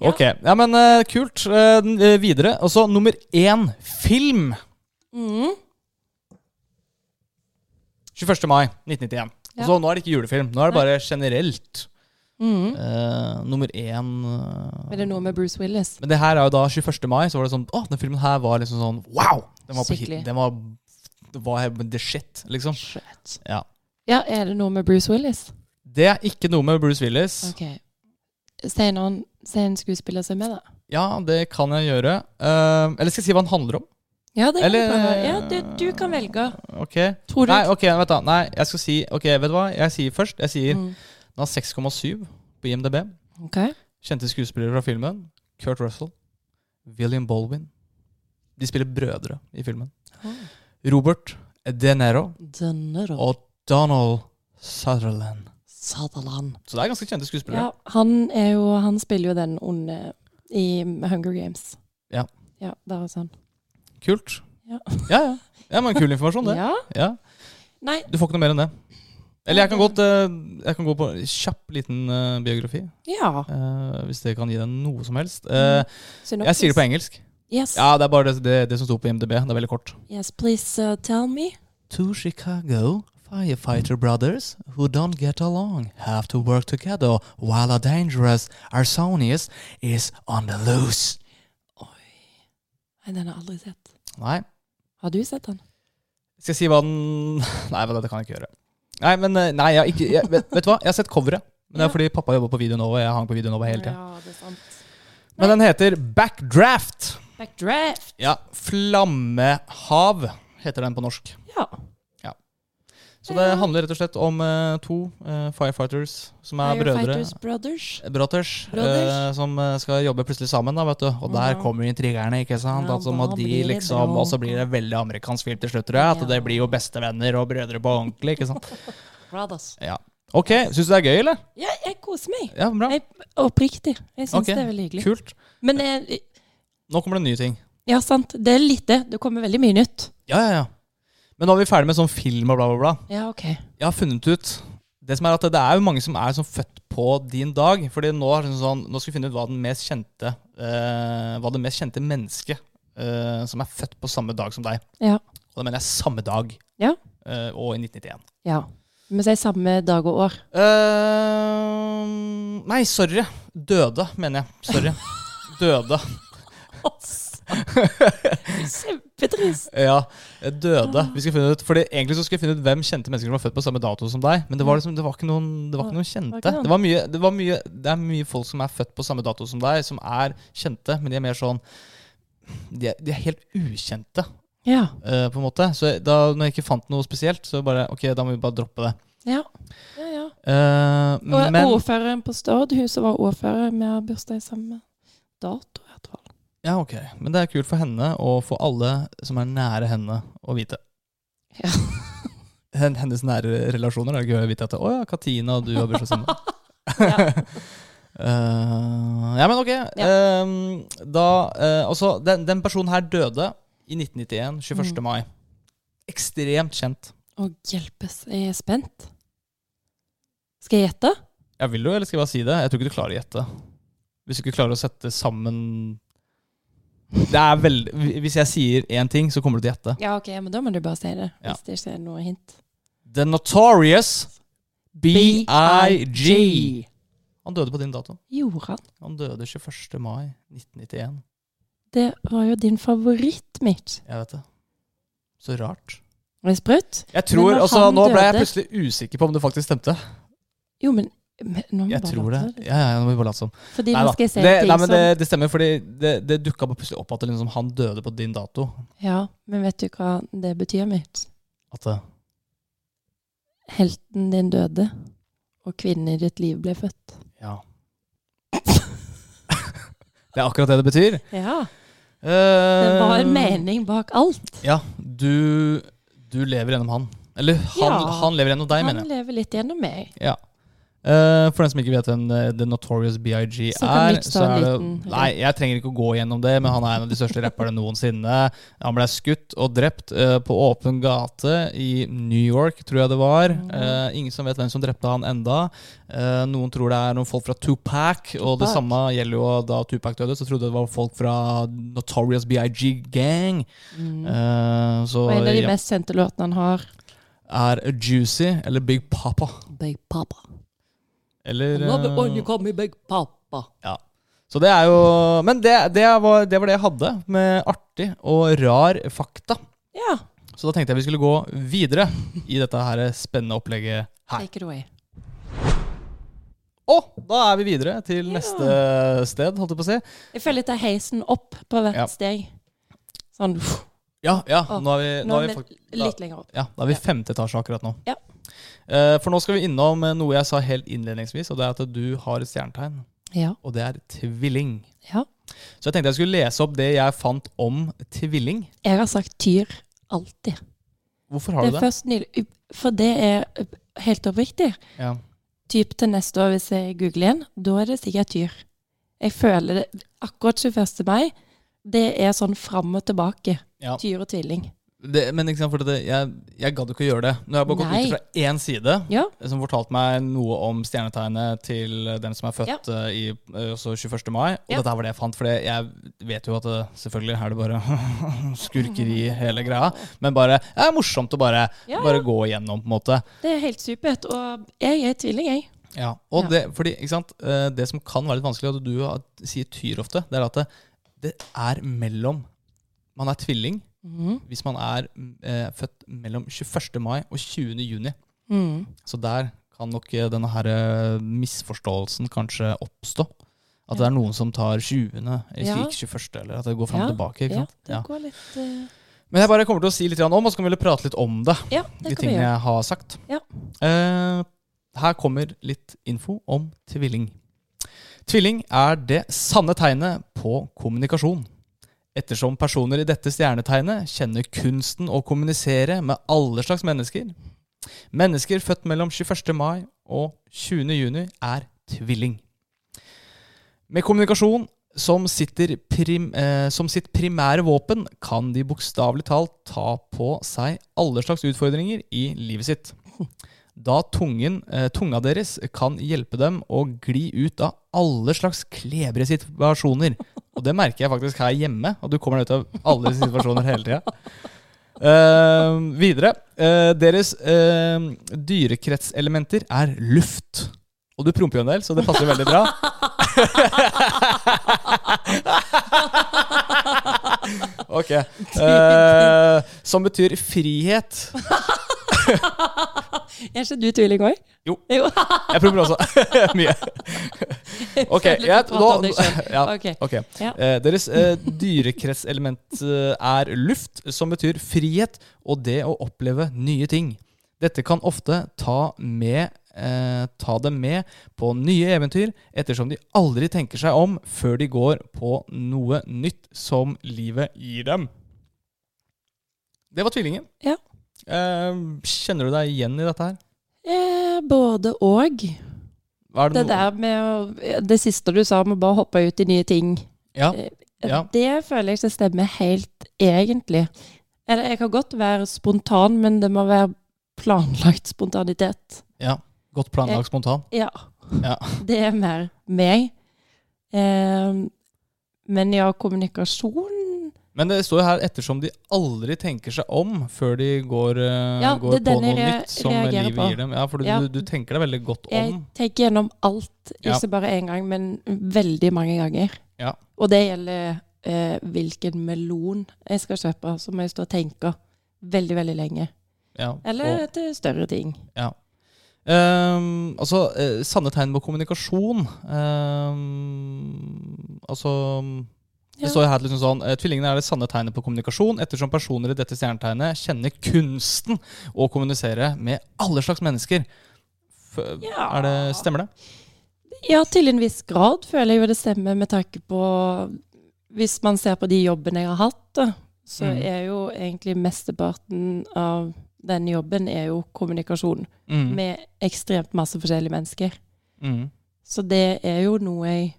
Speaker 1: ok. Ja, men eh, kult. Eh, den, eh, videre. Og så nummer én film. Mm. 21. mai 1991. Og så nå er det ikke julefilm. Nå er det bare generelt. Eh, nummer én eh,
Speaker 2: Er det noe med Bruce Willis?
Speaker 1: Men det her er jo da 21. mai, så var det sånn Å, den filmen her var liksom sånn wow! Den var på hit.
Speaker 2: Skikkelig.
Speaker 1: Den var, det var the shit, liksom. Ja.
Speaker 2: Ja, er det noe med Bruce Willis?
Speaker 1: Det er ikke noe med Bruce Willis.
Speaker 2: OK. Se noen Se en skuespiller som er med, da.
Speaker 1: Ja, det kan jeg gjøre. Eh, eller skal jeg si hva den handler om?
Speaker 2: Ja, det kan
Speaker 1: Eller-
Speaker 2: du prøve. Ja, du, du kan velge.
Speaker 1: Ok.
Speaker 2: Tror du-
Speaker 1: Nei, ok, vent da. Nei, jeg skal si Ok, vet du hva? Jeg sier først Jeg sier
Speaker 2: Mm.
Speaker 1: Den har 6,7 på IMDb.
Speaker 2: OK.
Speaker 1: Kjente skuespillere fra filmen. Kurt Russell. William Baldwin. De spiller brødre i filmen.
Speaker 2: Ah.
Speaker 1: Robert De Niro
Speaker 2: Denne da.
Speaker 1: og Donald Sutherland.
Speaker 2: Sutherland.
Speaker 1: Så det er ganske kjente skuespillere.
Speaker 2: Ja, han er jo Han spiller jo den onde i Hunger Games.
Speaker 1: Ja.
Speaker 2: Ja, der er sånn.
Speaker 1: Kult.
Speaker 2: Ja.
Speaker 1: ja, ja. Ja, men Kul informasjon, det.
Speaker 2: Ja?
Speaker 1: ja.
Speaker 2: Nei.
Speaker 1: Du får ikke noe mer enn det. Eller jeg kan, godt, eh, jeg kan gå på en kjapp liten eh, biografi,
Speaker 2: Ja.
Speaker 1: eh, hvis det kan gi deg noe som helst. Eh,
Speaker 2: Synopsis.
Speaker 1: jeg sier det på engelsk.
Speaker 2: Yes.
Speaker 1: Ja, Det er bare det, det, det som sto på IMDb. Det er veldig kort.
Speaker 2: yes, please uh, tell me.
Speaker 1: Two Chicago firefighter brothers who don't get along have to work together while a dangerous Arsonius is on the loose.
Speaker 2: Nei, den har jeg aldri sett.
Speaker 1: Nei,
Speaker 2: Har du sett den?
Speaker 1: Skal jeg si hva den Nei, men dette kan jeg ikke gjøre. Nei, men eh, nei, jeg, har ikke, jeg, vet, vet du hva? Jeg har sett coveret. Men det er fordi pappa jobber på Videonova, og jeg hang på Videonova hele tida.
Speaker 2: Ja, det er sant.
Speaker 1: Men den heter Backdraft.
Speaker 2: Backdraft.
Speaker 1: Ja, Flammehav heter den på norsk.
Speaker 2: Ja.
Speaker 1: Så det handler rett og slett om eh, to eh, firefighters som er brødre.
Speaker 2: Eh, Firefighters Brothers.
Speaker 1: Brothers,
Speaker 2: Brothers.
Speaker 1: eh, som eh, skal jobbe plutselig sammen, da, vet du. Og der
Speaker 2: Mhm.
Speaker 1: kommer intrigerne, ikke sant.
Speaker 2: Ja,
Speaker 1: altså, må
Speaker 2: da
Speaker 1: de
Speaker 2: blir det
Speaker 1: liksom,
Speaker 2: bråk.
Speaker 1: og så blir det veldig amerikansk film til slutt, tror jeg. At
Speaker 2: Ja.
Speaker 1: det blir jo bestevenner og brødre på ordentlig, ikke sant.
Speaker 2: Brothers.
Speaker 1: Ja. Ok, syns du det er gøy, eller?
Speaker 2: Ja, jeg koser meg.
Speaker 1: Ja, bra.
Speaker 2: Jeg, oppriktig. Jeg syns
Speaker 1: Ok,
Speaker 2: det er veldig hyggelig.
Speaker 1: Kult.
Speaker 2: Men jeg,
Speaker 1: Nå kommer det nye ting.
Speaker 2: ja, sant. Det er lite. Det kommer veldig mye nytt.
Speaker 1: Ja, ja, ja. Men nå er vi ferdig med sånn film og bla, bla, bla.
Speaker 2: Ja, OK.
Speaker 1: Jeg har funnet ut Det som er at det er jo mange som er sånn født på din dag. Fordi nå, er det sånn, nå skal vi finne ut hva, den mest kjente, eh, hva det mest kjente mennesket eh, som er født på samme dag som deg.
Speaker 2: Ja.
Speaker 1: Og da mener jeg samme dag.
Speaker 2: Ja.
Speaker 1: eh, og i 1991.
Speaker 2: ja. Vi sier samme dag og år.
Speaker 1: Eh, nei, sorry. Døde, mener jeg. Sorry. Døde.
Speaker 2: Kjempetrist.
Speaker 1: Ja, døde. Vi skal finne ut, fordi Egentlig så skulle jeg finne ut hvem kjente mennesker som var født på samme dato som deg. Men det var liksom, det var ikke noen, det var ikke noen
Speaker 2: Det var
Speaker 1: kjente.
Speaker 2: ikke noen.
Speaker 1: Det, var mye, det, var mye, det er mye folk som er født på samme dato som deg, som er kjente, men de er mer sånn De er, de er helt ukjente,
Speaker 2: Ja.
Speaker 1: eh, på en måte. Så da når jeg ikke fant noe spesielt, så bare Ok, da må vi bare droppe det.
Speaker 2: Ja. ja, ja.
Speaker 1: Eh,
Speaker 2: Og
Speaker 1: men
Speaker 2: ordføreren på Stord, hun som var ordfører, vi har bursdag samme dato. i hvert fall.
Speaker 1: Ja, ok. Men det er kult for henne og for alle som er nære henne, å vite.
Speaker 2: Ja.
Speaker 1: Hen- Hennes nære relasjoner er det gøy å vite at Å ja, Katina og du har bursdag sammen.
Speaker 2: Ja.
Speaker 1: Eh, ja, men ok.
Speaker 2: Ja.
Speaker 1: Ehm, da eh, Altså, den, den personen her døde i 1991, 21.
Speaker 2: Mm.
Speaker 1: mai. Ekstremt kjent.
Speaker 2: Å, hjelpes. Jeg er spent. Skal jeg gjette?
Speaker 1: Ja, vil du, eller skal jeg bare si det? Jeg tror ikke du klarer å gjette. Hvis du ikke klarer å sette sammen Det er veldig Hvis jeg sier én ting, så kommer du til å gjette.
Speaker 2: Ja, ok, men da må du bare si det.
Speaker 1: Ja.
Speaker 2: Hvis det ikke er noe hint.
Speaker 1: The Notorious B.I.G. Han døde på din dato.
Speaker 2: Gjorde han?
Speaker 1: Han døde 21. mai 1991.
Speaker 2: Det var jo din favoritt, Mitch.
Speaker 1: Jeg vet det. Så rart.
Speaker 2: Var det sprøtt?
Speaker 1: Jeg tror,
Speaker 2: når
Speaker 1: altså,
Speaker 2: han
Speaker 1: Nå ble jeg
Speaker 2: døde-
Speaker 1: plutselig usikker på om det faktisk stemte.
Speaker 2: Jo, men, men nå må vi
Speaker 1: Jeg
Speaker 2: bare
Speaker 1: tror det.
Speaker 2: late være.
Speaker 1: Ja, ja, nå må vi bare late som.
Speaker 2: Fordi
Speaker 1: Nei
Speaker 2: nå
Speaker 1: da.
Speaker 2: skal jeg se
Speaker 1: Det,
Speaker 2: ting
Speaker 1: nei, men
Speaker 2: som
Speaker 1: det, det stemmer, fordi det, det dukka bare plutselig opp at det liksom, han døde på din dato.
Speaker 2: Ja, men vet du hva det betyr, Mitch?
Speaker 1: At det,
Speaker 2: Helten din døde, og kvinnen i ditt liv ble født.
Speaker 1: Ja. det er akkurat det det betyr.
Speaker 2: Ja. Det
Speaker 1: Eh,
Speaker 2: var en mening bak alt.
Speaker 1: Ja, du, du lever gjennom han. Eller han,
Speaker 2: Ja.
Speaker 1: han lever gjennom deg,
Speaker 2: Han
Speaker 1: mener jeg.
Speaker 2: lever litt gjennom meg.
Speaker 1: Ja. Eh, for den som ikke vet hvem eh, The Notorious BIG
Speaker 2: Så kan
Speaker 1: er,
Speaker 2: Mitch
Speaker 1: så
Speaker 2: ta en
Speaker 1: er det
Speaker 2: liten-
Speaker 1: Nei, jeg trenger ikke å gå gjennom det, men han er en av de største rapperne noensinne. Han ble skutt og drept eh, på åpen gate i New York, tror jeg det var.
Speaker 2: Mm.
Speaker 1: Eh, ingen som vet hvem som drepte han enda. Eh, noen tror det er noen folk fra Tupac, og det
Speaker 2: Tupac.
Speaker 1: samme gjelder jo da Tupac døde, så trodde det var folk fra Notorious BIG Gang. Eh, så
Speaker 2: Mm. Og en av de
Speaker 1: ja,
Speaker 2: mest kjente låtene han har.
Speaker 1: er Juicy eller Big Papa.
Speaker 2: Big Papa.
Speaker 1: Eller eh,
Speaker 2: call me Big Papa.
Speaker 1: Ja. Så det er jo Men det, det, var, det var det jeg hadde med artig og rar fakta.
Speaker 2: Ja.
Speaker 1: Så da tenkte jeg vi skulle gå videre i dette her spennende opplegget her.
Speaker 2: Take it away.
Speaker 1: Og da er vi videre til neste sted, holdt jeg på å si.
Speaker 2: Jeg føler litt av heisen opp på hvert
Speaker 1: Ja.
Speaker 2: steg. Sånn pff,
Speaker 1: Ja, ja.
Speaker 2: Å,
Speaker 1: Nå er vi, nå
Speaker 2: Nå
Speaker 1: er
Speaker 2: er
Speaker 1: vi fakt-
Speaker 2: vi litt lenger opp.
Speaker 1: Ja, da er vi i femte etasje akkurat nå.
Speaker 2: Ja.
Speaker 1: Eh, For nå skal vi innom eh, noe jeg sa helt innledningsvis, og det er at du har et stjernetegn.
Speaker 2: Ja.
Speaker 1: Og det er tvilling.
Speaker 2: ja.
Speaker 1: Så jeg tenkte jeg skulle lese opp det jeg fant om tvilling.
Speaker 2: Jeg har sagt tyr alltid.
Speaker 1: Hvorfor har
Speaker 2: Det
Speaker 1: du
Speaker 2: er
Speaker 1: det?
Speaker 2: først nylig For det er eh, helt oppriktig.
Speaker 1: Ja.
Speaker 2: Typ til neste år, hvis jeg googler igjen, da er det sikkert tyr. Jeg føler det akkurat 21. mai. Det er sånn fram og tilbake.
Speaker 1: Ja.
Speaker 2: Tyr og tvilling.
Speaker 1: Det, men ikke sant, for det, jeg, jeg gadd ikke å gjøre det. Nå har jeg bare gått
Speaker 2: Nei.
Speaker 1: ut fra én side,
Speaker 2: Ja.
Speaker 1: som fortalte meg noe om stjernetegnet til den som er født
Speaker 2: Ja.
Speaker 1: eh, i eh, også 21. mai. Og
Speaker 2: Ja.
Speaker 1: dette var det jeg fant, for jeg vet jo at eh, selvfølgelig er det bare skurkeri hele greia. Men bare, det er morsomt å bare,
Speaker 2: Ja,
Speaker 1: bare gå igjennom, på en måte.
Speaker 2: Det er helt supert. Og jeg er tvilling, jeg.
Speaker 1: Ja, og
Speaker 2: Ja.
Speaker 1: Det, fordi, ikke sant? eh, det som kan være litt vanskelig, og du har- sier tyr ofte, det er at det, det er mellom Man er tvilling,
Speaker 2: Mhm.
Speaker 1: hvis man er eh, født mellom 21. mai og 20. juni. Så der kan nok eh, denne her eh, misforståelsen kanskje oppstå. At det er noen som tar 20. i
Speaker 2: Ja.
Speaker 1: 21., eller at det går fram og tilbake. ikke
Speaker 2: ja,
Speaker 1: sant?
Speaker 2: det går litt eh,
Speaker 1: Men jeg bare kommer til å si litt grann om, og så kan vi vel prate litt om det.
Speaker 2: Ja,
Speaker 1: de
Speaker 2: det kan vi
Speaker 1: tingene
Speaker 2: gjøre.
Speaker 1: jeg har sagt.
Speaker 2: Ja.
Speaker 1: Eh, her kommer litt info om tvilling. Tvilling er det sanne tegnet på kommunikasjon. Ettersom personer i dette stjernetegnet kjenner kunsten å kommunisere med alle slags mennesker. Mennesker født mellom 21. mai og 20. juni er tvilling. Med kommunikasjon som, sitter prim, eh, som sitt primære våpen kan de bokstavelig talt ta på seg alle slags utfordringer i livet sitt. Da tungen, eh, tunga deres kan hjelpe dem å gli ut av alle slags klebrige situasjoner. Og det merker jeg faktisk her hjemme, at du kommer deg ut av alle situasjoner hele tida. Eh, videre. Eh, deres eh, dyrekretselementer er luft. Og du promper jo en del, så det passer jo veldig bra. Ok. Eh, som betyr frihet.
Speaker 2: Er ikke du tvilling òg?
Speaker 1: Jo.
Speaker 2: jo.
Speaker 1: Jeg prøver også mye. Ok,
Speaker 2: Jeg
Speaker 1: jeg,
Speaker 2: følte du pratet
Speaker 1: nå,
Speaker 2: om deg selv.
Speaker 1: ja,
Speaker 2: Ok.
Speaker 1: ok.
Speaker 2: Ja.
Speaker 1: Eh, Deres eh, dyrekretselement eh, er luft, som betyr frihet og det å oppleve nye ting. Dette kan ofte ta, med, eh, ta dem med på nye eventyr, ettersom de aldri tenker seg om før de går på noe nytt som livet gir dem. Det var tvillingen.
Speaker 2: Ja.
Speaker 1: Eh, kjenner du deg igjen i dette her?
Speaker 2: Eh, både og.
Speaker 1: Er
Speaker 2: Det
Speaker 1: noe-
Speaker 2: der med å Det siste du sa om å bare hoppe ut i nye ting,
Speaker 1: Ja. Ja.
Speaker 2: det føler jeg ikke stemmer helt, egentlig. Eller jeg kan godt være spontan, men det må være planlagt spontanitet.
Speaker 1: ja. Godt planlagt spontan.
Speaker 2: Ja.
Speaker 1: Ja.
Speaker 2: Det er mer meg. Eh, men ja, kommunikasjon
Speaker 1: Men det står jo her ettersom de aldri tenker seg om før de går, eh,
Speaker 2: Ja,
Speaker 1: går
Speaker 2: det
Speaker 1: på
Speaker 2: er den
Speaker 1: noe
Speaker 2: jeg re-
Speaker 1: nytt som
Speaker 2: reagerer
Speaker 1: livet
Speaker 2: på.
Speaker 1: gir dem. Ja, for du,
Speaker 2: Ja.
Speaker 1: du, du tenker deg veldig godt
Speaker 2: Jeg
Speaker 1: om.
Speaker 2: tenker gjennom alt,
Speaker 1: Ja.
Speaker 2: ikke bare én gang, men veldig mange ganger.
Speaker 1: Ja.
Speaker 2: Og det gjelder eh, hvilken melon jeg skal kjøpe, så må jeg stå og tenke veldig, veldig lenge.
Speaker 1: Ja,
Speaker 2: Eller
Speaker 1: og,
Speaker 2: til større ting.
Speaker 1: ja. Ehm, altså, eh, sanne tegn på kommunikasjon Ehm, Altså Det
Speaker 2: Ja.
Speaker 1: står jo her liksom sånn eh, Tvillingene er det sanne tegnet på kommunikasjon, ettersom personer i dette stjernetegnet kjenner kunsten å kommunisere med alle slags mennesker. F
Speaker 2: Ja.
Speaker 1: er det, stemmer det?
Speaker 2: Ja, til en viss grad føler jeg jo det stemmer med tanke på Hvis man ser på de jobbene jeg har hatt, da, så
Speaker 1: Mm.
Speaker 2: er jo egentlig mesteparten av den jobben er jo kommunikasjon
Speaker 1: Mm.
Speaker 2: med ekstremt masse forskjellige mennesker.
Speaker 1: Mm.
Speaker 2: Så det er jo noe jeg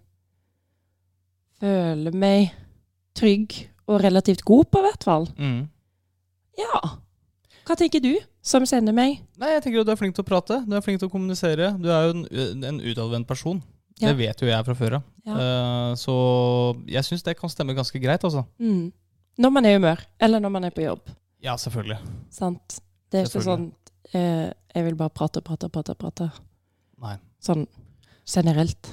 Speaker 2: føler meg trygg og relativt god på, i hvert fall.
Speaker 1: Mm.
Speaker 2: Ja. Hva tenker du, som kjenner meg?
Speaker 1: Nei, jeg tenker at du er flink til å prate. Du er flink til å kommunisere. Du er jo en, en utadvendt person.
Speaker 2: Ja.
Speaker 1: Det vet jo jeg fra før av.
Speaker 2: Ja.
Speaker 1: Eh, så jeg syns det kan stemme ganske greit, altså.
Speaker 2: Mm. Når man er i humør, eller når man er på jobb.
Speaker 1: Ja, selvfølgelig.
Speaker 2: Sant? Det er ikke sånn
Speaker 1: Selvfølgelig.
Speaker 2: eh, Jeg vil bare prate, prate, prate, prate.
Speaker 1: Nei.
Speaker 2: Sånn generelt.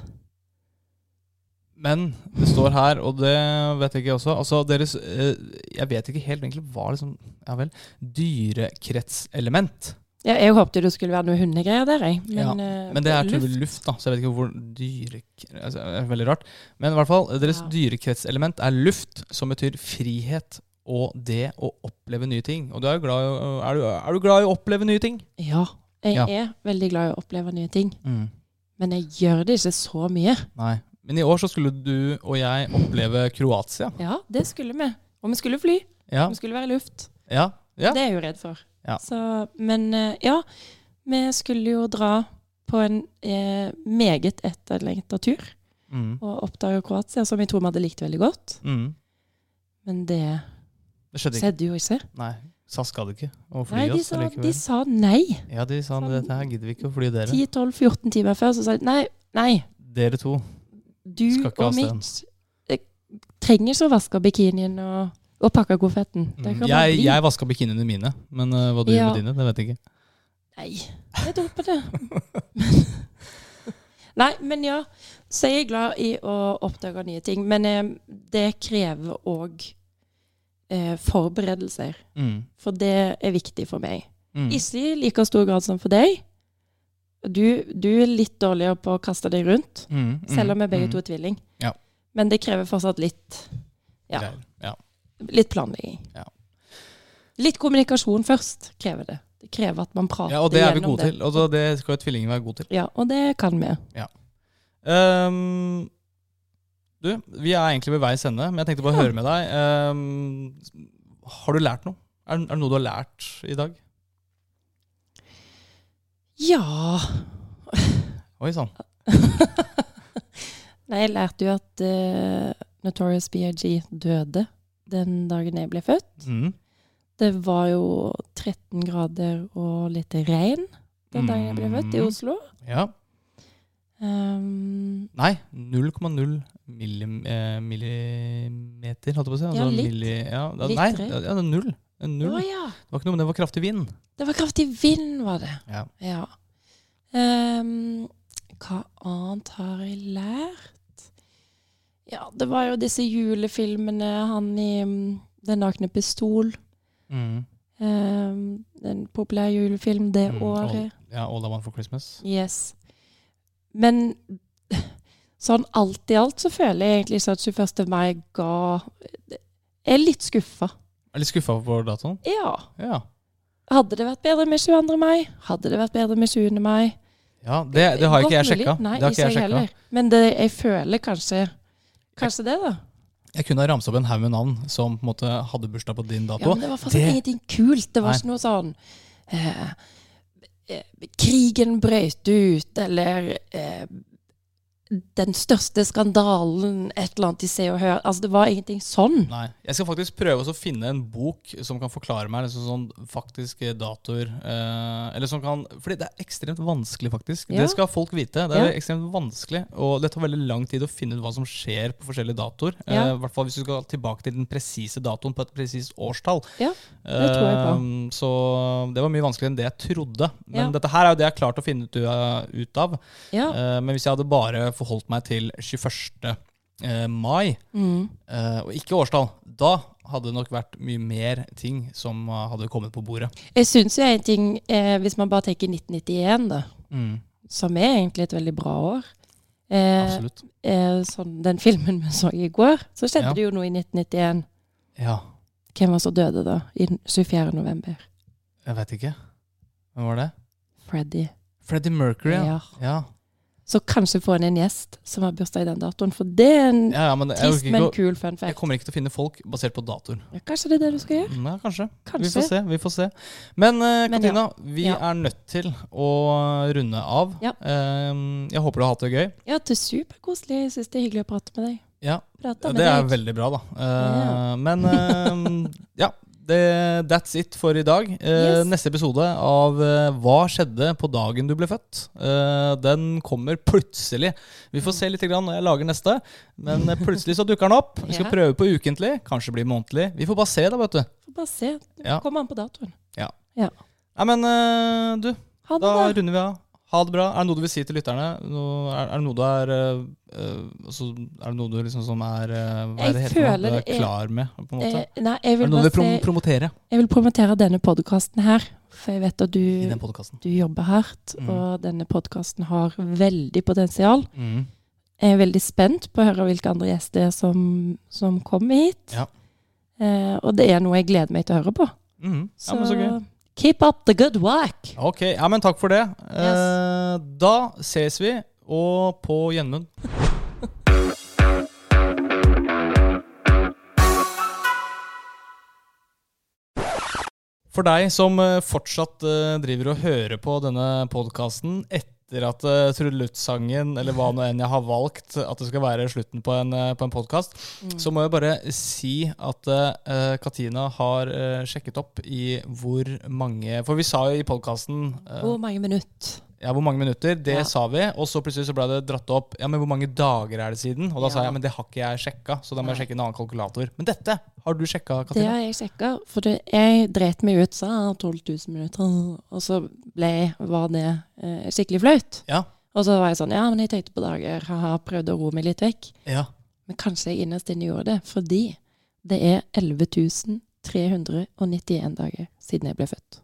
Speaker 1: Men det står her, og det vet jeg ikke også Altså deres eh, Jeg vet ikke helt egentlig hva liksom Ja vel. Dyrekretselement.
Speaker 2: Ja, jeg håpte det skulle være noe hundegreier der, jeg. Men,
Speaker 1: Ja,
Speaker 2: eh,
Speaker 1: Men det er
Speaker 2: luft-
Speaker 1: tydeligvis luft, da, så jeg vet ikke hvor dyrek... Altså, det er veldig rart. Men i hvert fall, deres
Speaker 2: Ja.
Speaker 1: dyrekretselement er luft, som betyr frihet og det å oppleve nye ting. Og du er, jo glad, i å- er, du, er du glad i å oppleve nye ting?
Speaker 2: Ja. Jeg
Speaker 1: Ja.
Speaker 2: er veldig glad i å oppleve nye ting, men jeg gjør det ikke så mye.
Speaker 1: Mm, Nei. Men i år så skulle du og jeg oppleve Kroatia.
Speaker 2: Ja, det skulle vi. Og vi skulle fly.
Speaker 1: Ja.
Speaker 2: Vi skulle være i luft.
Speaker 1: ja. ja.
Speaker 2: Det er jeg jo redd for.
Speaker 1: Ja.
Speaker 2: Så, men eh, ja, vi skulle jo dra på en eh, meget etterlengta tur
Speaker 1: Mm.
Speaker 2: og oppdage Kroatia, som jeg tror vi hadde likt veldig godt.
Speaker 1: Mm.
Speaker 2: Men det
Speaker 1: Det skjedde ikke.
Speaker 2: skjedde jo ikke.
Speaker 1: Nei. SAS gadd ikke å fly
Speaker 2: Nei, de
Speaker 1: oss
Speaker 2: sa,
Speaker 1: allikevel.
Speaker 2: de sa nei.
Speaker 1: Ja, de sa dette her gidder vi ikke å fly dere.
Speaker 2: 10-12-14 timer før så sa de nei, nei,
Speaker 1: Dere to.
Speaker 2: du
Speaker 1: Skal ikke ha
Speaker 2: og Mitch eh, trenger ikke å vaske bikinien og, og pakke konfetten. Det kan bare
Speaker 1: Mm. Jeg,
Speaker 2: bli.
Speaker 1: jeg vaska bikiniene mine, men eh, hva du gjør
Speaker 2: Ja.
Speaker 1: med dine, det vet jeg ikke.
Speaker 2: Nei, jeg tror på det. Nei, men ja. Så jeg er glad i å oppdage nye ting. Men eh, det krever òg eh, forberedelser.
Speaker 1: Mm.
Speaker 2: For det er viktig for meg.
Speaker 1: Mm.
Speaker 2: Ikke i like stor grad som for deg. Du, du er litt dårligere på å kaste deg rundt,
Speaker 1: Mm, mm,
Speaker 2: selv om vi begge
Speaker 1: mm.
Speaker 2: to er tvilling.
Speaker 1: Ja.
Speaker 2: Men det krever fortsatt litt, ja,
Speaker 1: Greier. ja.
Speaker 2: litt planlegging.
Speaker 1: Ja.
Speaker 2: Litt kommunikasjon først krever det. Det krever at man prater
Speaker 1: ja, og det er vi
Speaker 2: gjennom
Speaker 1: gode til. Og da- det skal jo tvillingene være gode til.
Speaker 2: Ja, og det kan vi.
Speaker 1: Ehm, du, vi er egentlig ved veis ende, men jeg tenkte bare å høre med deg. Ehm, har du lært noe? Er, er det noe du har lært i dag?
Speaker 2: Ja
Speaker 1: Oi sånn. sann.
Speaker 2: Nei, jeg lærte jo at eh, Notorious BIG døde den dagen jeg ble født.
Speaker 1: Mm.
Speaker 2: Det var jo 13 grader og litt regn den dagen jeg ble født i
Speaker 1: Mm.
Speaker 2: Oslo.
Speaker 1: Ja.
Speaker 2: Um,
Speaker 1: Nei, 0,0 millim, eh, millimeter, holdt jeg på å si. Altså
Speaker 2: Ja, litt.
Speaker 1: Milli, ja, da,
Speaker 2: Litt
Speaker 1: nei,
Speaker 2: tre.
Speaker 1: ja, det er null. Det er null.
Speaker 2: å ja!
Speaker 1: Det var ikke noe, men det var kraftig vind.
Speaker 2: Det var kraftig vind, var det.
Speaker 1: Ja.
Speaker 2: Ja. Ehm, hva annet har jeg lært? Ja, det var jo disse julefilmene. Han i mm, Den nakne pistol.
Speaker 1: Mm.
Speaker 2: ehm, en populær julefilm det
Speaker 1: Mm,
Speaker 2: året.
Speaker 1: all- Ja, All I Want for Christmas.
Speaker 2: Yes. Men sånn alt i alt så føler jeg egentlig sånn at 21. mai ga Jeg er litt skuffa.
Speaker 1: Jeg er litt skuffa over datoen.
Speaker 2: Ja.
Speaker 1: Ja.
Speaker 2: Hadde det vært bedre med 22. mai? Hadde det vært bedre med 20. mai?
Speaker 1: ja det, det har ikke jeg
Speaker 2: Godt mulig.
Speaker 1: sjekka.
Speaker 2: Nei,
Speaker 1: Det har ikke
Speaker 2: ikke
Speaker 1: jeg
Speaker 2: jeg
Speaker 1: sjekka.
Speaker 2: heller. Men det, jeg føler kanskje Kanskje det, da.
Speaker 1: Jeg kunne ha ramsa opp en haug med navn som på en måte hadde bursdag på din
Speaker 2: Ja,
Speaker 1: dato.
Speaker 2: men det var fortsatt ingenting kult. Det var
Speaker 1: Nei.
Speaker 2: ikke noe sånn eh, eh, Krigen brøt ut, eller eh, den største skandalen, et eller annet i Se og Hør. Altså, det var ingenting sånn.
Speaker 1: Nei. Jeg skal faktisk prøve å finne en bok som kan forklare meg liksom sånn faktiske datoer. Eh, eller som kan, fordi det er ekstremt vanskelig, faktisk.
Speaker 2: Ja.
Speaker 1: Det skal folk vite. Det er
Speaker 2: Ja.
Speaker 1: ekstremt vanskelig, Og det tar veldig lang tid å finne ut hva som skjer på forskjellige datoer. Eh, I
Speaker 2: Ja.
Speaker 1: hvert fall hvis du skal tilbake til den presise datoen på et presist årstall.
Speaker 2: Ja, det tror jeg på.
Speaker 1: Eh, så det var mye vanskeligere enn det jeg trodde. Men
Speaker 2: Ja.
Speaker 1: dette her er jo det jeg har klart å finne ut, eh, ut av.
Speaker 2: Ja.
Speaker 1: Eh, men hvis jeg hadde bare forholdt meg til 21. eh, mai,
Speaker 2: Mm.
Speaker 1: eh, og ikke årstall, da hadde det nok vært mye mer ting som eh, hadde kommet på bordet.
Speaker 2: Jeg syns jo en ting, eh, hvis man bare tenker 1991, da,
Speaker 1: Mm.
Speaker 2: som er egentlig et veldig bra år eh,
Speaker 1: Absolutt.
Speaker 2: eh, sånn, Den filmen vi så i går, så skjedde
Speaker 1: Ja.
Speaker 2: det jo noe i 1991.
Speaker 1: Ja,
Speaker 2: Hvem var så døde da? I den 24. november.
Speaker 1: jeg vet ikke. Hvem var det?
Speaker 2: Freddy.
Speaker 1: Freddie Mercury, ja.
Speaker 2: Ja.
Speaker 1: Ja,
Speaker 2: Så kanskje få inn en gjest som har bursdag i den datoen, for det er en
Speaker 1: ja, ja men jeg,
Speaker 2: trist,
Speaker 1: orker
Speaker 2: men
Speaker 1: ikke å-
Speaker 2: kul fun
Speaker 1: jeg
Speaker 2: fact.
Speaker 1: kommer ikke til å finne folk basert på datoer. Mm,
Speaker 2: Ja, Kanskje det er det du skal gjøre?
Speaker 1: Ja, kanskje.
Speaker 2: Kanskje.
Speaker 1: Vi får se. vi får se. Men eh,
Speaker 2: Men
Speaker 1: Katina, vi
Speaker 2: Ja.
Speaker 1: er nødt til å runde av.
Speaker 2: Ja.
Speaker 1: Eh, jeg håper du har hatt det gøy.
Speaker 2: Ja, det er superkoselig. Jeg syns det er hyggelig å prate med deg.
Speaker 1: Ja,
Speaker 2: Prate med
Speaker 1: det er
Speaker 2: deg.
Speaker 1: veldig bra, da. Eh,
Speaker 2: Ja.
Speaker 1: Men eh, ja, det, that's it for i dag. Eh,
Speaker 2: Yes.
Speaker 1: Neste episode av eh, Hva skjedde på dagen du ble født? Eh, den kommer plutselig. Vi får se litt grann når jeg lager neste, men eh, plutselig så dukker den opp. Vi skal
Speaker 2: Ja.
Speaker 1: prøve på ukentlig, kanskje blir månedlig. Vi får bare se, da, vet du.
Speaker 2: Får bare se.
Speaker 1: Ja.
Speaker 2: Kommer an på datoen.
Speaker 1: Ja.
Speaker 2: Ja.
Speaker 1: Nei, men eh, du,
Speaker 2: Ha det,
Speaker 1: da
Speaker 2: da.
Speaker 1: runder vi av. Ha det bra. Er det noe du vil si til lytterne? Noe, er, er det noe du er eh, eh, altså, Er det noe du liksom som er eh, Hva er det
Speaker 2: Jeg
Speaker 1: heter for noe?
Speaker 2: føler
Speaker 1: Du er
Speaker 2: det er-
Speaker 1: klar med, på en måte?
Speaker 2: Eh, nei, jeg
Speaker 1: er
Speaker 2: vil
Speaker 1: det noe du
Speaker 2: bare
Speaker 1: vil prom
Speaker 2: si
Speaker 1: promotere
Speaker 2: Jeg vil promotere denne podkasten her, for jeg vet at
Speaker 1: i
Speaker 2: du,
Speaker 1: den podkasten?
Speaker 2: du jobber hardt,
Speaker 1: Mm.
Speaker 2: og denne podkasten har veldig potensial.
Speaker 1: Mm.
Speaker 2: Jeg er veldig spent på å høre hvilke andre gjester som, som kommer hit.
Speaker 1: Ja.
Speaker 2: Eh, og det er noe jeg gleder meg til å høre på.
Speaker 1: Mm. Ja, men så gøy.
Speaker 2: keep up the good work!
Speaker 1: Ok, ja, men takk for det. Eh, da ses vi, og på gjenmunn. For deg som eh, fortsatt eh, driver og hører på denne podkasten etter at eh, trudelutt-sangen, eller hva nå enn jeg har valgt, at det skal være slutten på en, eh, på en podkast, så må jeg bare si at eh, Katina har eh, sjekket opp i hvor mange For vi sa jo i eh, podkasten
Speaker 2: Hvor mange minutter?
Speaker 1: ja, hvor mange minutter? Det
Speaker 2: Ja.
Speaker 1: sa vi. Og så plutselig så ble det dratt opp Ja, men hvor mange dager er det siden? Og da sa
Speaker 2: Ja.
Speaker 1: jeg men det har ikke jeg sjekka, så da må jeg sjekke en annen kalkulator. Men dette har du sjekka,
Speaker 2: Det
Speaker 1: Katina.
Speaker 2: har jeg sjekka, for det, jeg dreit meg ut, sa 12 000 minutter, og så ble, var det eh, skikkelig flaut.
Speaker 1: Ja.
Speaker 2: Og så var jeg sånn, ja, men jeg tenkte på dager, haha, prøvde å roe meg litt vekk.
Speaker 1: Ja.
Speaker 2: Men kanskje jeg innerst inne gjorde det, fordi det er 11 391 dager siden jeg ble født.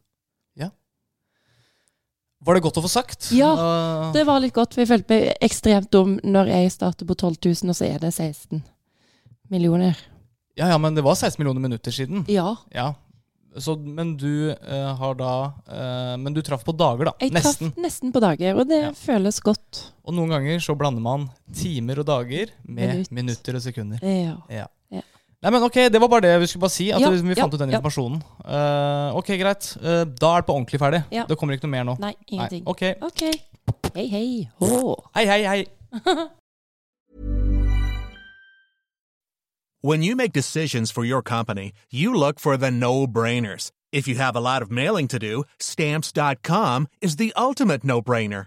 Speaker 1: Var det godt å få sagt?
Speaker 2: Ja,
Speaker 1: Eh,
Speaker 2: Det var litt godt. for Jeg følte meg ekstremt dum når jeg starter på 12 000, og så er det 16 millioner.
Speaker 1: ja, ja, men det var 16 millioner minutter siden.
Speaker 2: Ja.
Speaker 1: Ja. Så, men du eh, har da eh, Men du traff på dager, da.
Speaker 2: Jeg
Speaker 1: Nesten.
Speaker 2: traff nesten på dager, og det
Speaker 1: Ja.
Speaker 2: føles godt.
Speaker 1: Og noen ganger så blander man timer og dager med
Speaker 2: Minutt.
Speaker 1: minutter og sekunder.
Speaker 2: Ja.
Speaker 1: Ja.
Speaker 2: Ja.
Speaker 1: Nei, men ok, Det var bare det vi skulle bare si. At
Speaker 2: Ja,
Speaker 1: vi- vi fant
Speaker 2: ja,
Speaker 1: ut den
Speaker 2: ja.
Speaker 1: informasjonen. Eh, ok, greit. Eh, da er det på ordentlig ferdig.
Speaker 2: Ja.
Speaker 1: Det kommer ikke noe mer nå.
Speaker 2: Nei, ingenting.
Speaker 1: Ok.
Speaker 2: OK. Hei, hei. Hå.
Speaker 1: Hei, hei, hei.
Speaker 3: When you make decisions for your company, you look for the no brainers. If you have a lot of mailing to do, stamps.com is the ultimate no brainer.